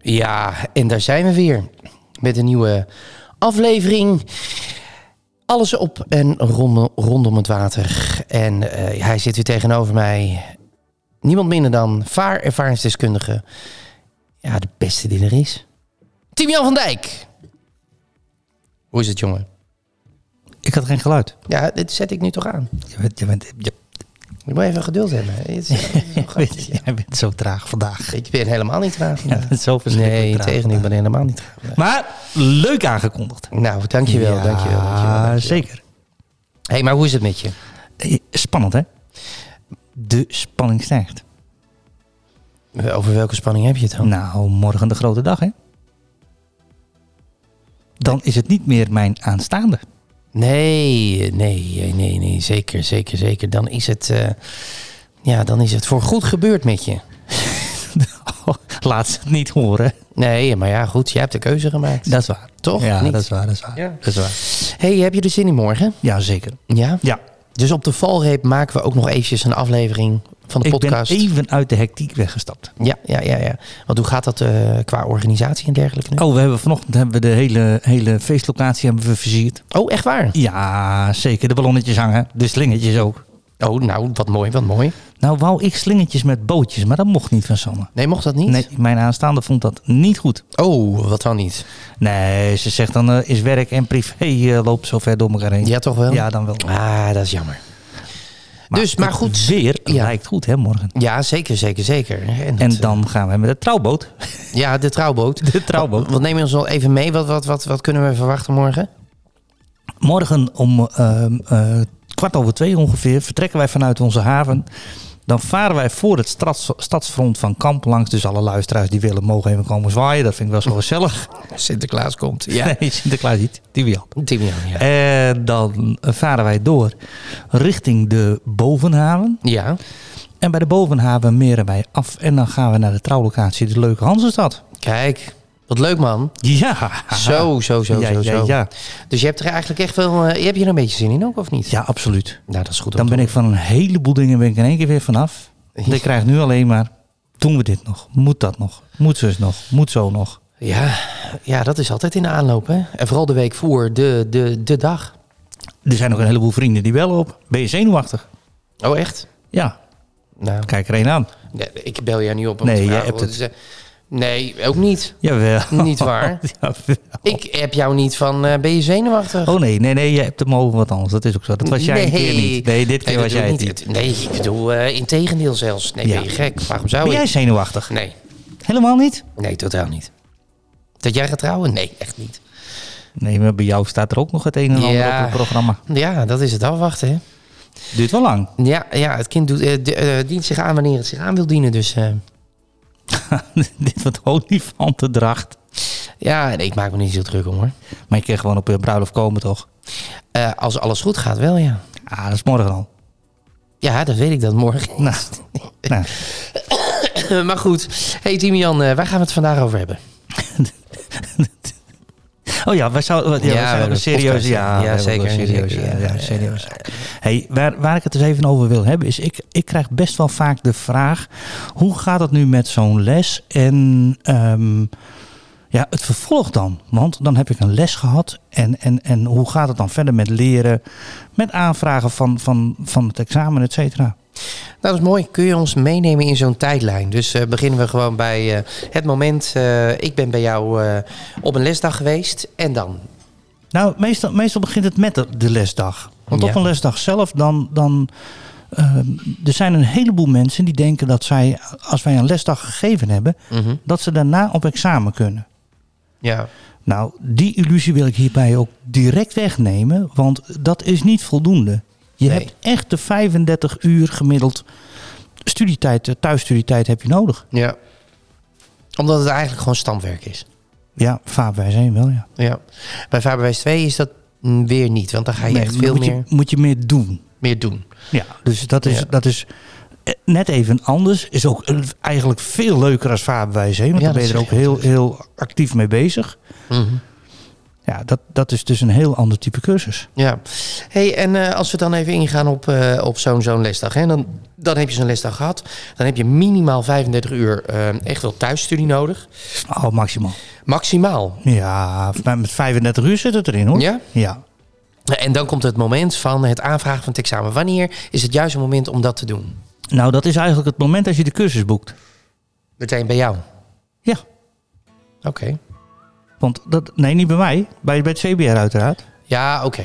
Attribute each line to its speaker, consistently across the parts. Speaker 1: Ja, en daar zijn we weer met een nieuwe aflevering. Alles op en rondom, rondom het water. En eh, hij zit weer tegenover mij. Niemand minder dan vaarervaringsdeskundige. Ja, de beste die er is. Timian van Dijk. Hoe is het, jongen?
Speaker 2: Ik had geen geluid.
Speaker 1: Ja, dit zet ik nu toch aan.
Speaker 2: Je bent, je bent, je,
Speaker 1: Je moet even geduld hebben. Het is- het is wel
Speaker 2: je bent,
Speaker 1: grappig, ja.
Speaker 2: jij bent zo traag vandaag.
Speaker 1: Ik ben helemaal niet traag
Speaker 2: Ja,
Speaker 1: vandaag.
Speaker 2: dat is zo verschrikkelijk
Speaker 1: nee,
Speaker 2: traag
Speaker 1: tegen, ik
Speaker 2: vandaag.
Speaker 1: ben helemaal niet traag. vandaag.
Speaker 2: Maar leuk aangekondigd.
Speaker 1: Nou, dankjewel,
Speaker 2: Ja,
Speaker 1: dankjewel, dankjewel, dankjewel.
Speaker 2: zeker.
Speaker 1: Hé, hey, maar hoe is het met je?
Speaker 2: Eh, Spannend, hè? De spanning stijgt.
Speaker 1: Over welke spanning heb je het dan?
Speaker 2: Nou, morgen de grote dag, hè? Dan is het niet meer mijn aanstaande.
Speaker 1: Nee, nee, nee, nee, zeker, zeker, zeker. Dan is het, eh, ja, dan is het voor goed gebeurd met je.
Speaker 2: Oh, Laat ze het niet horen.
Speaker 1: Nee, maar ja, goed, jij hebt de keuze gemaakt.
Speaker 2: Dat is waar.
Speaker 1: Toch?
Speaker 2: Ja,
Speaker 1: Niet?
Speaker 2: dat is waar, dat is waar.
Speaker 1: Ja.
Speaker 2: Dat is waar.
Speaker 1: hey, heb je er zin in morgen?
Speaker 2: Ja, zeker.
Speaker 1: Ja.
Speaker 2: Ja,
Speaker 1: Dus op de valreep maken we ook nog eventjes een aflevering van de
Speaker 2: ik ben
Speaker 1: podcast.
Speaker 2: even uit de hectiek weggestapt.
Speaker 1: Ja, ja, ja, ja. Want hoe gaat dat eh, qua organisatie en dergelijke nu?
Speaker 2: Oh, we hebben vanochtend hebben we de hele, hele feestlocatie hebben we versierd.
Speaker 1: oh echt waar?
Speaker 2: Ja, zeker. De ballonnetjes hangen. De slingertjes ook.
Speaker 1: Oh, nou, wat mooi, wat mooi.
Speaker 2: Nou wou ik slingertjes met bootjes, maar dat mocht niet van Sanne.
Speaker 1: Nee, mocht dat niet?
Speaker 2: Nee, mijn aanstaande vond dat niet goed.
Speaker 1: Oh, wat dan niet?
Speaker 2: Nee, ze zegt dan eh, is werk en privé eh, loopt zo ver door elkaar heen.
Speaker 1: Ja, toch wel?
Speaker 2: Ja, dan wel.
Speaker 1: Ah, dat is jammer. dus, maar
Speaker 2: het
Speaker 1: goed.
Speaker 2: Weer
Speaker 1: Ja.
Speaker 2: lijkt goed, hè, morgen.
Speaker 1: Ja, zeker, zeker, zeker. dat,
Speaker 2: En
Speaker 1: eh,
Speaker 2: dan gaan we met de trouwboot.
Speaker 1: Ja, de trouwboot.
Speaker 2: De trouwboot.
Speaker 1: Wat neem je ons nog even mee? Wat, wat, wat, wat kunnen we verwachten morgen?
Speaker 2: Morgen om ehm, eh, kwart over twee ongeveer vertrekken wij vanuit onze haven. Dan varen wij voor het strads- stadsfront van Kamp langs. Dus alle luisteraars die willen mogen even komen zwaaien. Dat vind ik wel zo gezellig.
Speaker 1: Sinterklaas komt.
Speaker 2: Nee, Sinterklaas niet. Die wil.
Speaker 1: Timian, ja.
Speaker 2: En dan varen wij door richting de Bovenhaven.
Speaker 1: Ja,
Speaker 2: En bij de Bovenhaven meren wij af. En dan gaan we naar de trouwlocatie de Leuke Hansenstad.
Speaker 1: kijk. Wat leuk, man.
Speaker 2: Ja.
Speaker 1: Zo, zo, zo,
Speaker 2: ja,
Speaker 1: zo,
Speaker 2: ja,
Speaker 1: zo.
Speaker 2: ja.
Speaker 1: Dus je hebt er eigenlijk echt wel... eh, heb je er een beetje zin in ook, of niet?
Speaker 2: Ja, absoluut.
Speaker 1: Nou, dat is goed. om
Speaker 2: Dan
Speaker 1: te
Speaker 2: ben ik van een heleboel dingen ben ik in één keer weer vanaf. Want ik krijg nu alleen maar, doen we dit nog? Moet dat nog? Moet zus nog? Moet zo nog?
Speaker 1: horen. Ja, ja, dat is altijd in de aanloop, hè. En vooral de week voor de, de, de dag.
Speaker 2: Er zijn nog een heleboel vrienden die bellen op. Ben je zenuwachtig?
Speaker 1: Oh, echt?
Speaker 2: Ja,
Speaker 1: Nou,
Speaker 2: kijk er een aan.
Speaker 1: nee, ik bel jij nu op. om
Speaker 2: Nee,
Speaker 1: te
Speaker 2: jij
Speaker 1: vragen
Speaker 2: hebt
Speaker 1: wat
Speaker 2: het.
Speaker 1: ze- Nee, ook niet.
Speaker 2: Jawel.
Speaker 1: Niet waar.
Speaker 2: Jawel.
Speaker 1: Ik heb jou niet van, eh, ben je zenuwachtig?
Speaker 2: Oh nee, nee, nee, je hebt hem over wat anders. Dat is ook zo. Dat was jij een keer niet. Nee, dit keer
Speaker 1: dat
Speaker 2: was
Speaker 1: doe ik
Speaker 2: jij het niet.
Speaker 1: Het- Nee, ik bedoel, eh in tegendeel zelfs. Nee,
Speaker 2: Ja.
Speaker 1: ben je gek? Waarom zou
Speaker 2: Ben jij
Speaker 1: Nou, ik?
Speaker 2: zenuwachtig?
Speaker 1: Nee,
Speaker 2: Helemaal niet?
Speaker 1: nee, totaal niet. Dat jij gaat trouwen? Nee, echt niet.
Speaker 2: Nee, maar bij jou staat er ook nog het een en ander
Speaker 1: Ja.
Speaker 2: op het programma.
Speaker 1: Ja, dat is het afwachten, hè.
Speaker 2: Duurt wel lang.
Speaker 1: Ja, ja het kind doet, eh, d- eh, dient zich aan wanneer het zich aan wil dienen, dus... eh,
Speaker 2: dit wordt olifantendracht.
Speaker 1: ja, nee, ik maak me niet zo druk om, hoor.
Speaker 2: Maar je kan gewoon op je bruiloft komen, toch?
Speaker 1: Eh, als alles goed gaat, wel, ja.
Speaker 2: Ah, dat is morgen al.
Speaker 1: Ja, dat weet ik dat morgen.
Speaker 2: Nou, nou,
Speaker 1: maar goed. hey, Timian, eh, waar gaan we het vandaag over hebben?
Speaker 2: Oh ja, wij zouden, ja,
Speaker 1: Ja,
Speaker 2: we
Speaker 1: we
Speaker 2: zijn ook
Speaker 1: hebben
Speaker 2: een
Speaker 1: podcast,
Speaker 2: serieuze.
Speaker 1: ja. Ja,
Speaker 2: Ja, we hebben
Speaker 1: zeker,
Speaker 2: ook een serieuze.
Speaker 1: zeker,
Speaker 2: Ja,
Speaker 1: ja,
Speaker 2: ja,
Speaker 1: ja,
Speaker 2: serieus. Hey, waar, waar ik het eens even over wil hebben is, ik, ik krijg best wel vaak de vraag, hoe gaat het nu met zo'n les en ehm, ja, het vervolg dan? Want dan heb ik een les gehad en, en, en hoe gaat het dan verder met leren, met aanvragen van, van, van het examen, et cetera?
Speaker 1: Nou, dat is mooi. Kun je ons meenemen in zo'n tijdlijn? Dus eh, beginnen we gewoon bij eh, het moment. eh, ik ben bij jou eh, op een lesdag geweest. En dan?
Speaker 2: Nou, meestal, meestal begint het met de, de lesdag. Want op
Speaker 1: Ja.
Speaker 2: een lesdag zelf dan... dan ehm, er zijn een heleboel mensen die denken dat zij, als wij een lesdag gegeven hebben, dat ze daarna op examen kunnen.
Speaker 1: Mhm. Ja.
Speaker 2: Nou, die illusie wil ik hierbij ook direct wegnemen, want dat is niet voldoende. Je
Speaker 1: Nee.
Speaker 2: hebt echt de 35 uur gemiddeld studietijd, eh, thuisstudietijd heb je nodig.
Speaker 1: ja. Omdat het eigenlijk gewoon stamwerk is.
Speaker 2: Ja, vaarbewijs 1 wel, ja.
Speaker 1: Ja. Bij vaarbewijs 2 is dat mm, weer niet, want dan ga je
Speaker 2: Nee,
Speaker 1: echt veel
Speaker 2: moet
Speaker 1: meer,
Speaker 2: Je, moet je meer doen.
Speaker 1: meer doen.
Speaker 2: Ja, dus dat is,
Speaker 1: Ja.
Speaker 2: dat is eh, net even anders. Is ook eh, eigenlijk veel leuker als vaarbewijs heen. Want
Speaker 1: Ja,
Speaker 2: dan
Speaker 1: dat
Speaker 2: ben je er ook
Speaker 1: is
Speaker 2: heel, heel actief mee bezig.
Speaker 1: Mhm.
Speaker 2: Ja, dat, dat is dus een heel ander type cursus.
Speaker 1: Ja. Hey, en eh, als we dan even ingaan op, eh, op zo'n zo'n lesdag, hè, dan, dan heb je zo'n lesdag gehad. Dan heb je minimaal 35 uur eh, echt wel thuisstudie nodig.
Speaker 2: Oh, maximaal.
Speaker 1: Maximaal.
Speaker 2: Ja, maar met 35 uur zit het erin hoor.
Speaker 1: Ja?
Speaker 2: Ja,
Speaker 1: En dan komt het moment van het aanvragen van het examen. Wanneer is het juiste moment om dat te doen?
Speaker 2: nou dat is eigenlijk het moment als je de cursus boekt.
Speaker 1: Meteen bij jou.
Speaker 2: Ja,
Speaker 1: Oké.
Speaker 2: want dat, nee, niet bij mij, bij, bij het CBR uiteraard.
Speaker 1: Ja, oké.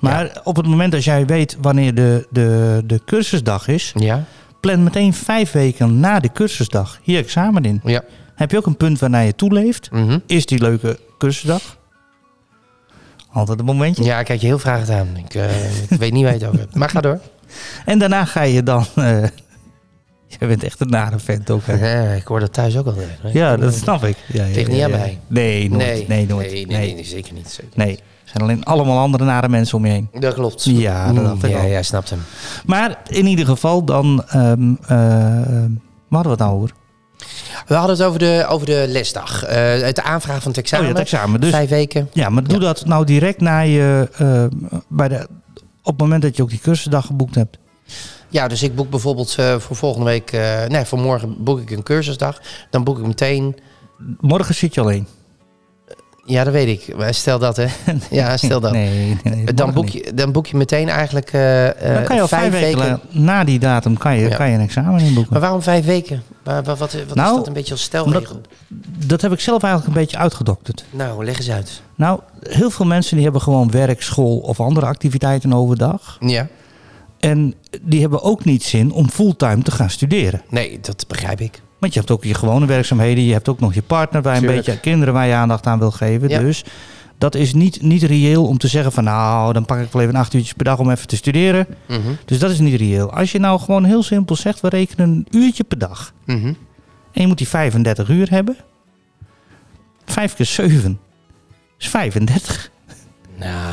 Speaker 2: Maar op het moment dat jij weet wanneer de, de, de cursusdag is,
Speaker 1: Ja.
Speaker 2: plan meteen vijf weken na de cursusdag je examen in.
Speaker 1: Ja.
Speaker 2: Heb je ook een punt waarnaar je toeleeft?
Speaker 1: Mhm.
Speaker 2: Is die leuke cursusdag? Altijd een momentje.
Speaker 1: Ja, ik kijk je heel vragend aan. Ik, eh, ik weet niet waar je het over hebt. Maar ga door.
Speaker 2: En daarna ga je dan. eh, jij bent echt een nare vent ook. Hè?
Speaker 1: Ja, ik hoor dat thuis ook al.
Speaker 2: Ja, dat snap ik. Ja, ja,
Speaker 1: Ligt niet
Speaker 2: ja,
Speaker 1: aan
Speaker 2: ja.
Speaker 1: mij.
Speaker 2: Nee, nooit. Nee, nooit.
Speaker 1: Nee,
Speaker 2: Nee,
Speaker 1: nee, nee, zeker niet. Zeker.
Speaker 2: Nee. Er zijn alleen allemaal andere nare mensen om je heen.
Speaker 1: niet. Dat klopt. Mm,
Speaker 2: Ja, dat dacht ik
Speaker 1: ja,
Speaker 2: al.
Speaker 1: ja, snapt hem.
Speaker 2: Maar in ieder geval dan... ehm eh, waar hadden we het nou over?
Speaker 1: We hadden het over de, over de lesdag. Eh het aanvragen van het
Speaker 2: Oh
Speaker 1: examen.
Speaker 2: ja, het examen. Dus,
Speaker 1: Vijf weken.
Speaker 2: ja, maar doe
Speaker 1: Ja.
Speaker 2: dat nou direct na je... eh, bij de, op het moment dat je ook die cursusdag geboekt hebt.
Speaker 1: Ja, dus ik boek bijvoorbeeld eh, voor volgende week... eh, nee, voor morgen boek ik een cursusdag. Dan boek ik meteen...
Speaker 2: Morgen zit je alleen.
Speaker 1: Ja, dat weet ik. Maar Stel dat, hè. Ja, stel dat.
Speaker 2: Nee, nee, nee,
Speaker 1: dan,
Speaker 2: morgen
Speaker 1: boek
Speaker 2: niet.
Speaker 1: je, dan boek je meteen eigenlijk eh, eh,
Speaker 2: Dan kan je al vijf, weken, la- na die datum kan je,
Speaker 1: Ja.
Speaker 2: kan je een examen inboeken.
Speaker 1: Maar waarom vijf weken? Waar- waar- wat wat
Speaker 2: Nou,
Speaker 1: is dat een beetje als stelregel?
Speaker 2: Dat heb ik zelf eigenlijk een beetje uitgedokterd.
Speaker 1: Nou, leg eens uit.
Speaker 2: Nou, heel veel mensen die hebben gewoon werk, school of andere activiteiten overdag.
Speaker 1: Ja.
Speaker 2: En die hebben ook niet zin om fulltime te gaan studeren.
Speaker 1: Nee, dat begrijp ik.
Speaker 2: Want je hebt ook je gewone werkzaamheden, je hebt ook nog je partner waar je een
Speaker 1: Tuurlijk.
Speaker 2: beetje kinderen waar je aandacht aan wil geven.
Speaker 1: Ja.
Speaker 2: Dus dat is niet, niet reëel om te zeggen van nou, dan pak ik wel even acht uurtjes per dag om even te studeren.
Speaker 1: Mhm.
Speaker 2: Dus dat is niet reëel. Als je nou gewoon heel simpel zegt, we rekenen een uurtje per dag.
Speaker 1: Mhm.
Speaker 2: En je moet die 35 uur hebben. 5 keer 7 is 35.
Speaker 1: Nou,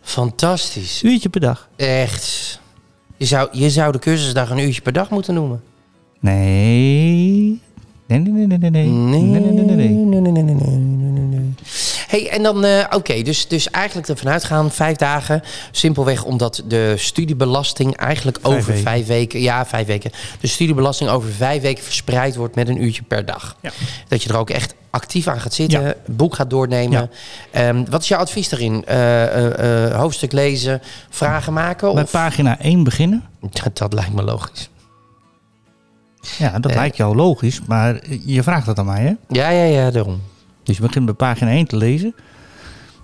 Speaker 1: fantastisch.
Speaker 2: Uurtje per dag.
Speaker 1: Echt. Je zou, je zou de cursusdag een uurtje per dag moeten noemen.
Speaker 2: Nee. Nee, nee, nee, nee, nee. Nee, nee, nee, nee, nee.
Speaker 1: nee, nee, nee, nee, nee, nee, nee. Hey, en dan, eh, oké, dus, dus eigenlijk ervan uitgaan, vijf dagen. Simpelweg omdat de studiebelasting eigenlijk
Speaker 2: Vijf
Speaker 1: over
Speaker 2: weken.
Speaker 1: vijf weken, ja, vijf weken, de studiebelasting over vijf weken verspreid wordt met een uurtje per dag.
Speaker 2: Ja.
Speaker 1: Dat je er ook echt actief aan gaat zitten,
Speaker 2: Ja.
Speaker 1: boek gaat doornemen. Ehm, wat is jouw advies daarin? Eh, eh, eh, hoofdstuk lezen, vragen maken?
Speaker 2: Bij
Speaker 1: Of?
Speaker 2: pagina 1 beginnen.
Speaker 1: Dat, dat lijkt me logisch.
Speaker 2: Ja, dat
Speaker 1: Eh.
Speaker 2: lijkt jou logisch, maar je vraagt dat aan mij, hè?
Speaker 1: Ja, ja, ja, daarom.
Speaker 2: Dus je begint bij pagina 1 te lezen.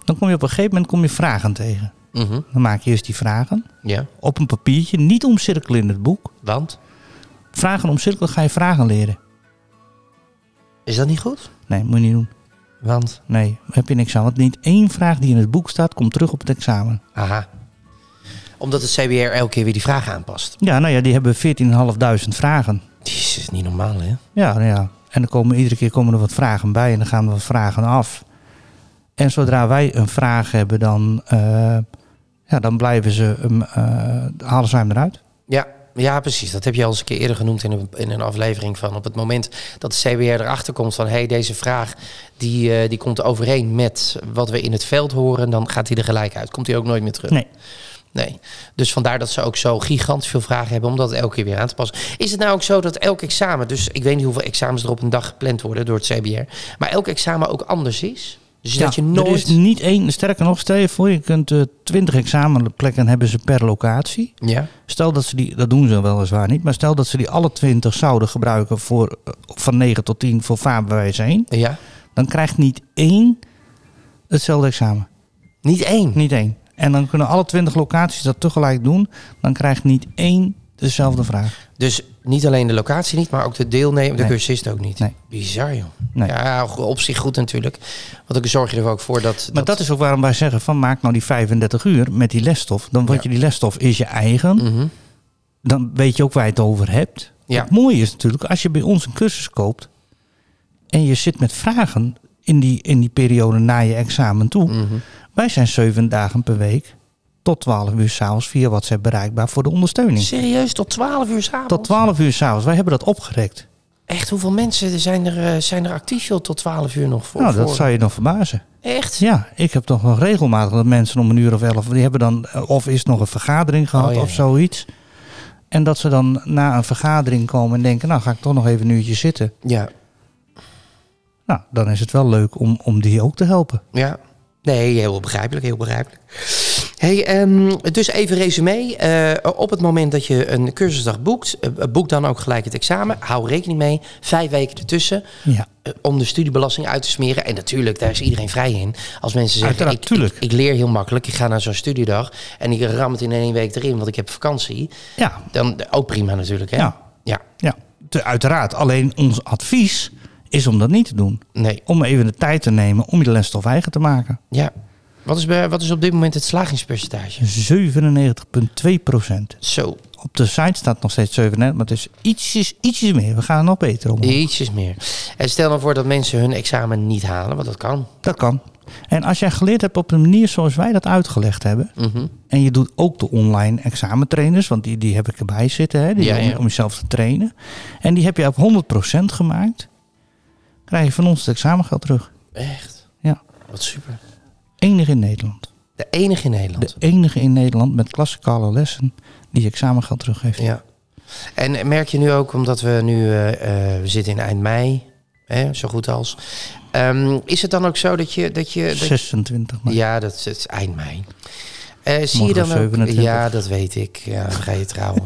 Speaker 2: Dan kom je op een gegeven moment kom je vragen tegen.
Speaker 1: Mhm,
Speaker 2: Dan maak je eerst die vragen
Speaker 1: Ja,
Speaker 2: op een papiertje, niet omcirkelen in het boek.
Speaker 1: want?
Speaker 2: Vragen omcirkelen ga je vragen leren.
Speaker 1: Is dat niet goed?
Speaker 2: Nee, moet je niet doen.
Speaker 1: Want?
Speaker 2: Nee, heb je niks aan. Want niet één vraag die in het boek staat, komt terug op het examen.
Speaker 1: Aha. Omdat het CBR elke keer weer die vraag aanpast.
Speaker 2: Ja, nou ja, die hebben 14.500 vragen.
Speaker 1: Jezus, is niet normaal, hè?
Speaker 2: Ja, nou ja. En er komen, iedere keer komen er wat vragen bij en dan gaan er wat vragen af. En zodra wij een vraag hebben, dan, eh, ja, dan blijven ze hem, eh, halen ze hem eruit.
Speaker 1: Ja, ja, precies. Dat heb je al eens een keer eerder genoemd in een, in een aflevering van... op het moment dat de CBR erachter komt van... hé, hey, deze vraag die, eh, die komt overeen met wat we in het veld horen... dan gaat hij er gelijk uit. Komt hij ook nooit meer terug.
Speaker 2: Nee.
Speaker 1: Nee. Dus vandaar dat ze ook zo gigantisch veel vragen hebben... om dat elke keer weer aan te passen. Is het nou ook zo dat elk examen... dus ik weet niet hoeveel examens er op een dag gepland worden door het CBR... maar elk examen ook anders is? Dus dat je
Speaker 2: Ja,
Speaker 1: nooit...
Speaker 2: Er is niet één, sterker nog, stel je voor, je kunt eh 20 examenplekken hebben ze per locatie.
Speaker 1: Ja.
Speaker 2: Stel dat ze die, dat doen ze weliswaar niet, maar stel dat ze die alle 20 zouden gebruiken voor, eh, van 9 tot 10 voor vaarbewijs 1,
Speaker 1: Ja.
Speaker 2: dan krijgt niet één hetzelfde examen.
Speaker 1: Niet één.
Speaker 2: Niet één. En dan kunnen alle 20 locaties dat tegelijk doen, dan krijgt niet één dezelfde vraag.
Speaker 1: Dus niet alleen de locatie niet, maar ook de deelnemer, de
Speaker 2: Nee.
Speaker 1: cursist ook niet.
Speaker 2: Nee.
Speaker 1: Bizar joh.
Speaker 2: Nee.
Speaker 1: Ja, op zich goed natuurlijk. Want dan zorg je er ook voor dat...
Speaker 2: Maar dat is ook waarom wij zeggen van maak nou die 35 uur met die lesstof. Dan word
Speaker 1: Ja.
Speaker 2: je die lesstof is je eigen.
Speaker 1: Mhm.
Speaker 2: dan weet je ook waar je het over hebt.
Speaker 1: Ja.
Speaker 2: Het mooie is natuurlijk, als je bij ons een cursus koopt, en je zit met vragen in die, in die periode na je examen toe.
Speaker 1: Mm. Mhm.
Speaker 2: Wij zijn zeven dagen per week tot 12 uur s'avonds via WhatsApp bereikbaar voor de ondersteuning.
Speaker 1: Serieus, tot 12 uur s'avonds?
Speaker 2: Tot 12 uur s'avonds. Wij hebben dat opgerekt.
Speaker 1: Echt, hoeveel mensen zijn er, eh, zijn er actief joh, tot 12 uur nog voor?
Speaker 2: nou, dat
Speaker 1: voor-
Speaker 2: zou je dan verbazen.
Speaker 1: Echt?
Speaker 2: Ja, ik heb toch nog regelmatig dat mensen om een uur of elf, die hebben dan, eh, of is nog een vergadering gehad
Speaker 1: Oh, ja,
Speaker 2: of
Speaker 1: ja.
Speaker 2: zoiets. En dat ze dan na een vergadering komen en denken, nou ga ik toch nog even een uurtje zitten.
Speaker 1: Ja.
Speaker 2: Nou, dan is het wel leuk om, om die ook te helpen.
Speaker 1: Ja. Nee, heel begrijpelijk, heel begrijpelijk. Hey, ehm, dus even resume. Eh, op het moment dat je een cursusdag boekt, eh, boek dan ook gelijk het examen. Hou rekening mee. Vijf weken ertussen
Speaker 2: Ja,
Speaker 1: eh, om de studiebelasting uit te smeren. En natuurlijk, daar is iedereen vrij in. Als mensen zeggen,
Speaker 2: Uiteraard,
Speaker 1: ik, ik,
Speaker 2: tuurlijk.
Speaker 1: ik leer heel makkelijk. Ik ga naar zo'n studiedag en ik ram het in één week erin, want ik heb vakantie.
Speaker 2: ja,
Speaker 1: Dan eh, ook prima natuurlijk, hè?
Speaker 2: Ja.
Speaker 1: Ja,
Speaker 2: ja. Te- uiteraard. Alleen ons advies is om dat niet te doen.
Speaker 1: nee.
Speaker 2: Om even de tijd te nemen om je lesstof eigen te maken.
Speaker 1: Ja. Wat is, bij- wat is op dit moment het slagingspercentage?
Speaker 2: 97,2 procent.
Speaker 1: Zo,
Speaker 2: Op de site staat nog steeds 7,9, maar het is ietsjes, ietsjes meer. We gaan er nog beter om.
Speaker 1: Ietsjes meer. En stel dan voor dat mensen hun examen niet halen, want dat kan.
Speaker 2: Dat kan. En als jij geleerd hebt op de manier zoals wij dat uitgelegd hebben.
Speaker 1: Mhm.
Speaker 2: En je doet ook de online examentrainers, want die, die heb ik erbij zitten, hè, die
Speaker 1: Ja,
Speaker 2: om,
Speaker 1: ja.
Speaker 2: om jezelf te trainen. En die heb je op 100% gemaakt. Krijg je van ons het examengeld terug.
Speaker 1: Echt?
Speaker 2: Ja.
Speaker 1: Wat super.
Speaker 2: Enig in Nederland.
Speaker 1: De enige in Nederland.
Speaker 2: De enige in Nederland met klassikale lessen die examengeld terug heeft.
Speaker 1: Ja. En merk je nu ook, omdat we nu eh, eh, we zitten in eind mei, hè, zo goed als. ehm, is het dan ook zo dat je. Dat je dat-
Speaker 2: 26 mei.
Speaker 1: ja, dat is het is eind mei. Eh, zie je
Speaker 2: Morgen
Speaker 1: dan ook,
Speaker 2: 27.
Speaker 1: Ja, dat weet ik. Ja, dan ga je trouwen.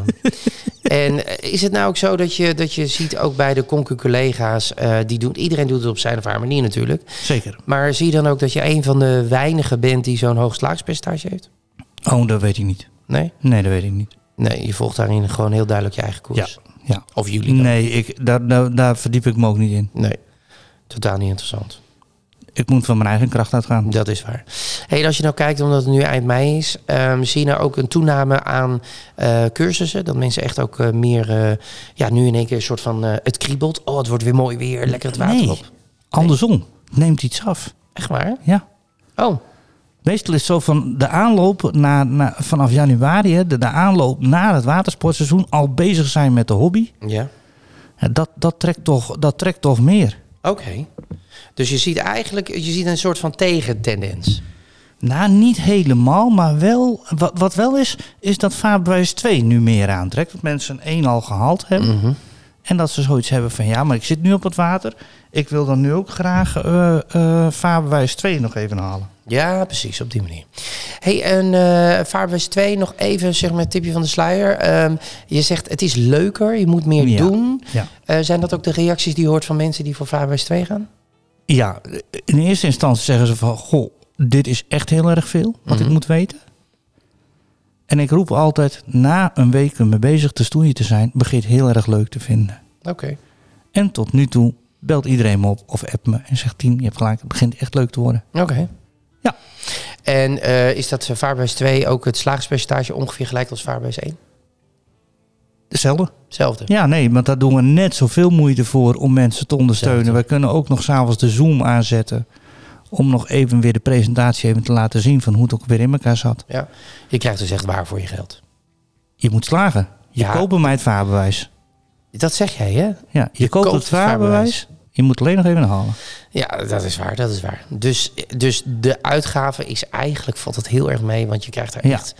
Speaker 1: en eh, is het nou ook zo dat je, dat je ziet ook bij de concu-collega's, eh, die doen, iedereen doet het op zijn of haar manier natuurlijk.
Speaker 2: Zeker.
Speaker 1: Maar zie je dan ook dat je een van de weinigen bent die zo'n hoog slaagpercentage heeft?
Speaker 2: Oh, dat weet ik niet.
Speaker 1: Nee?
Speaker 2: Nee, dat weet ik niet.
Speaker 1: Nee, je volgt daarin gewoon heel duidelijk je eigen
Speaker 2: Ja.
Speaker 1: koers.
Speaker 2: ja.
Speaker 1: Of jullie dan?
Speaker 2: Nee, ik, daar, daar, daar verdiep ik me ook niet in.
Speaker 1: Nee. Totaal niet interessant.
Speaker 2: Ik moet van mijn eigen kracht uitgaan.
Speaker 1: Dat is waar. Hey, en als je nou kijkt, omdat het nu eind mei is, ehm, zie je nou ook een toename aan eh, cursussen? Dat mensen echt ook eh, meer, eh, ja, nu in één keer een soort van, eh, het kriebelt. Oh, het wordt weer mooi weer, lekker het water
Speaker 2: nee,
Speaker 1: op.
Speaker 2: andersom. Het Neemt iets af.
Speaker 1: Echt waar?
Speaker 2: Ja.
Speaker 1: Oh,
Speaker 2: Meestal is het zo van de aanloop na, na, vanaf januari, hè, de, de aanloop naar het watersportseizoen, al bezig zijn met de hobby.
Speaker 1: ja.
Speaker 2: Ja, Dat, dat, trekt, toch, dat trekt toch meer.
Speaker 1: Oké. Dus je ziet eigenlijk, je ziet een soort van tegentendens.
Speaker 2: Nou, niet helemaal, maar wel. Wat, wat wel is, is dat vaarbewijs 2 nu meer aantrekt. Dat mensen 1 al gehaald
Speaker 1: Mm.
Speaker 2: hebben.
Speaker 1: Mhm.
Speaker 2: En dat ze zoiets hebben van ja, maar ik zit nu op het water. Ik wil dan nu ook graag eh eh vaarbewijs 2 nog even halen.
Speaker 1: Ja, precies, op die manier. hey, en eh Vaarbewijs 2, nog even zeg maar het tipje van de sluier. Ehm, je zegt het is leuker, je moet meer
Speaker 2: Ja.
Speaker 1: doen.
Speaker 2: Ja.
Speaker 1: Eh, zijn dat ook de reacties die je hoort van mensen die voor Vaarbewijs 2 gaan?
Speaker 2: Ja, in eerste instantie zeggen ze van... Goh, dit is echt heel erg veel wat ik moet weten. En ik roep altijd, na een week ermee bezig te stoeien te zijn... begint heel erg leuk te vinden.
Speaker 1: Oké.
Speaker 2: En tot nu toe belt iedereen me op of app me en zegt... Team, je hebt gelijk, het begint echt leuk te worden.
Speaker 1: Oké.
Speaker 2: Ja.
Speaker 1: En eh, is dat Vaarbewijs 2 ook het slagingspercentage ongeveer gelijk als Vaarbewijs 1?
Speaker 2: Hetzelfde.
Speaker 1: Hetzelfde.
Speaker 2: Ja, nee, want daar doen we net zoveel moeite voor om mensen te ondersteunen. We kunnen ook nog s'avonds de Zoom aanzetten... om nog even weer de presentatie even te laten zien... van hoe het ook weer in elkaar zat.
Speaker 1: Ja. Je krijgt dus echt waar voor je geld.
Speaker 2: Je moet slagen. Je
Speaker 1: Ja.
Speaker 2: koopt bij mij het vaarbewijs.
Speaker 1: Dat zeg jij, hè?
Speaker 2: Ja, je, koopt het vaarbewijs. Je moet alleen nog even halen.
Speaker 1: Ja, dat is waar, dat is waar. Dus, dus de uitgave is eigenlijk, valt het heel erg mee, want je krijgt er
Speaker 2: Ja.
Speaker 1: echt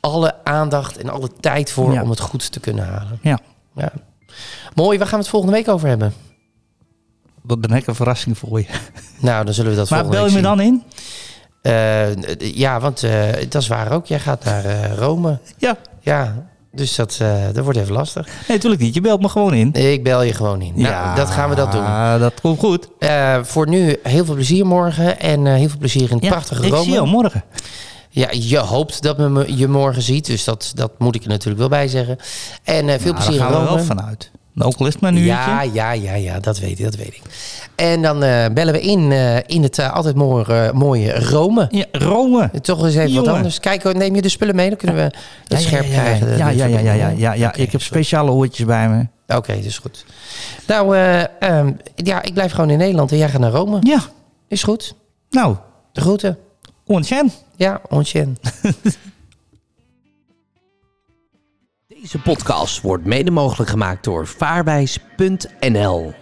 Speaker 1: alle aandacht en alle tijd voor
Speaker 2: Ja.
Speaker 1: om het goed te kunnen halen.
Speaker 2: Ja,
Speaker 1: Ja. Mooi, waar gaan we het volgende week over hebben?
Speaker 2: dat ben ik een verrassing voor je.
Speaker 1: Nou, dan zullen we dat
Speaker 2: maar
Speaker 1: volgende
Speaker 2: bel
Speaker 1: week
Speaker 2: je me dan in?
Speaker 1: zien. Eh, d- ja, want eh, dat is waar ook. Jij gaat naar eh, Rome.
Speaker 2: Ja,
Speaker 1: Ja, dus dat, eh, dat wordt even lastig.
Speaker 2: nee, natuurlijk niet. Je belt me gewoon in.
Speaker 1: Ik bel je gewoon in. Nou,
Speaker 2: ja,
Speaker 1: dat gaan we dat doen.
Speaker 2: Dat komt goed.
Speaker 1: Eh, voor nu heel veel plezier morgen en eh, heel veel plezier in het
Speaker 2: Ja,
Speaker 1: prachtige
Speaker 2: ik
Speaker 1: Rome.
Speaker 2: zie jou morgen.
Speaker 1: Ja, je hoopt dat men me- je morgen ziet. Dus dat, dat moet ik er natuurlijk wel bij zeggen. En eh, veel
Speaker 2: Nou,
Speaker 1: plezier
Speaker 2: Daar
Speaker 1: in
Speaker 2: gaan we
Speaker 1: Rome.
Speaker 2: wel vanuit. Ook al is het maar een uurtje.
Speaker 1: Ja, ja, ja, ja, dat weet ik, dat weet ik. En dan eh, bellen we in, eh, in het eh, altijd mooie, eh, mooie Rome.
Speaker 2: Ja, Rome.
Speaker 1: Toch eens even wat
Speaker 2: Jongen.
Speaker 1: anders. Kijk, oh, neem je de spullen mee, dan kunnen we het scherp
Speaker 2: ja,
Speaker 1: krijgen.
Speaker 2: Ja, ja, ja, ja, ja, ja, ja. ik heb speciale oortjes bij me.
Speaker 1: Oké, dus goed. Nou, eh, ehm, ja, ik blijf gewoon in Nederland en jij gaat naar Rome.
Speaker 2: Ja,
Speaker 1: Is goed.
Speaker 2: nou,
Speaker 1: De groeten.
Speaker 2: ontstaan.
Speaker 1: Ja, onchen. Deze podcast wordt mede mogelijk gemaakt door vaarwijs.nl.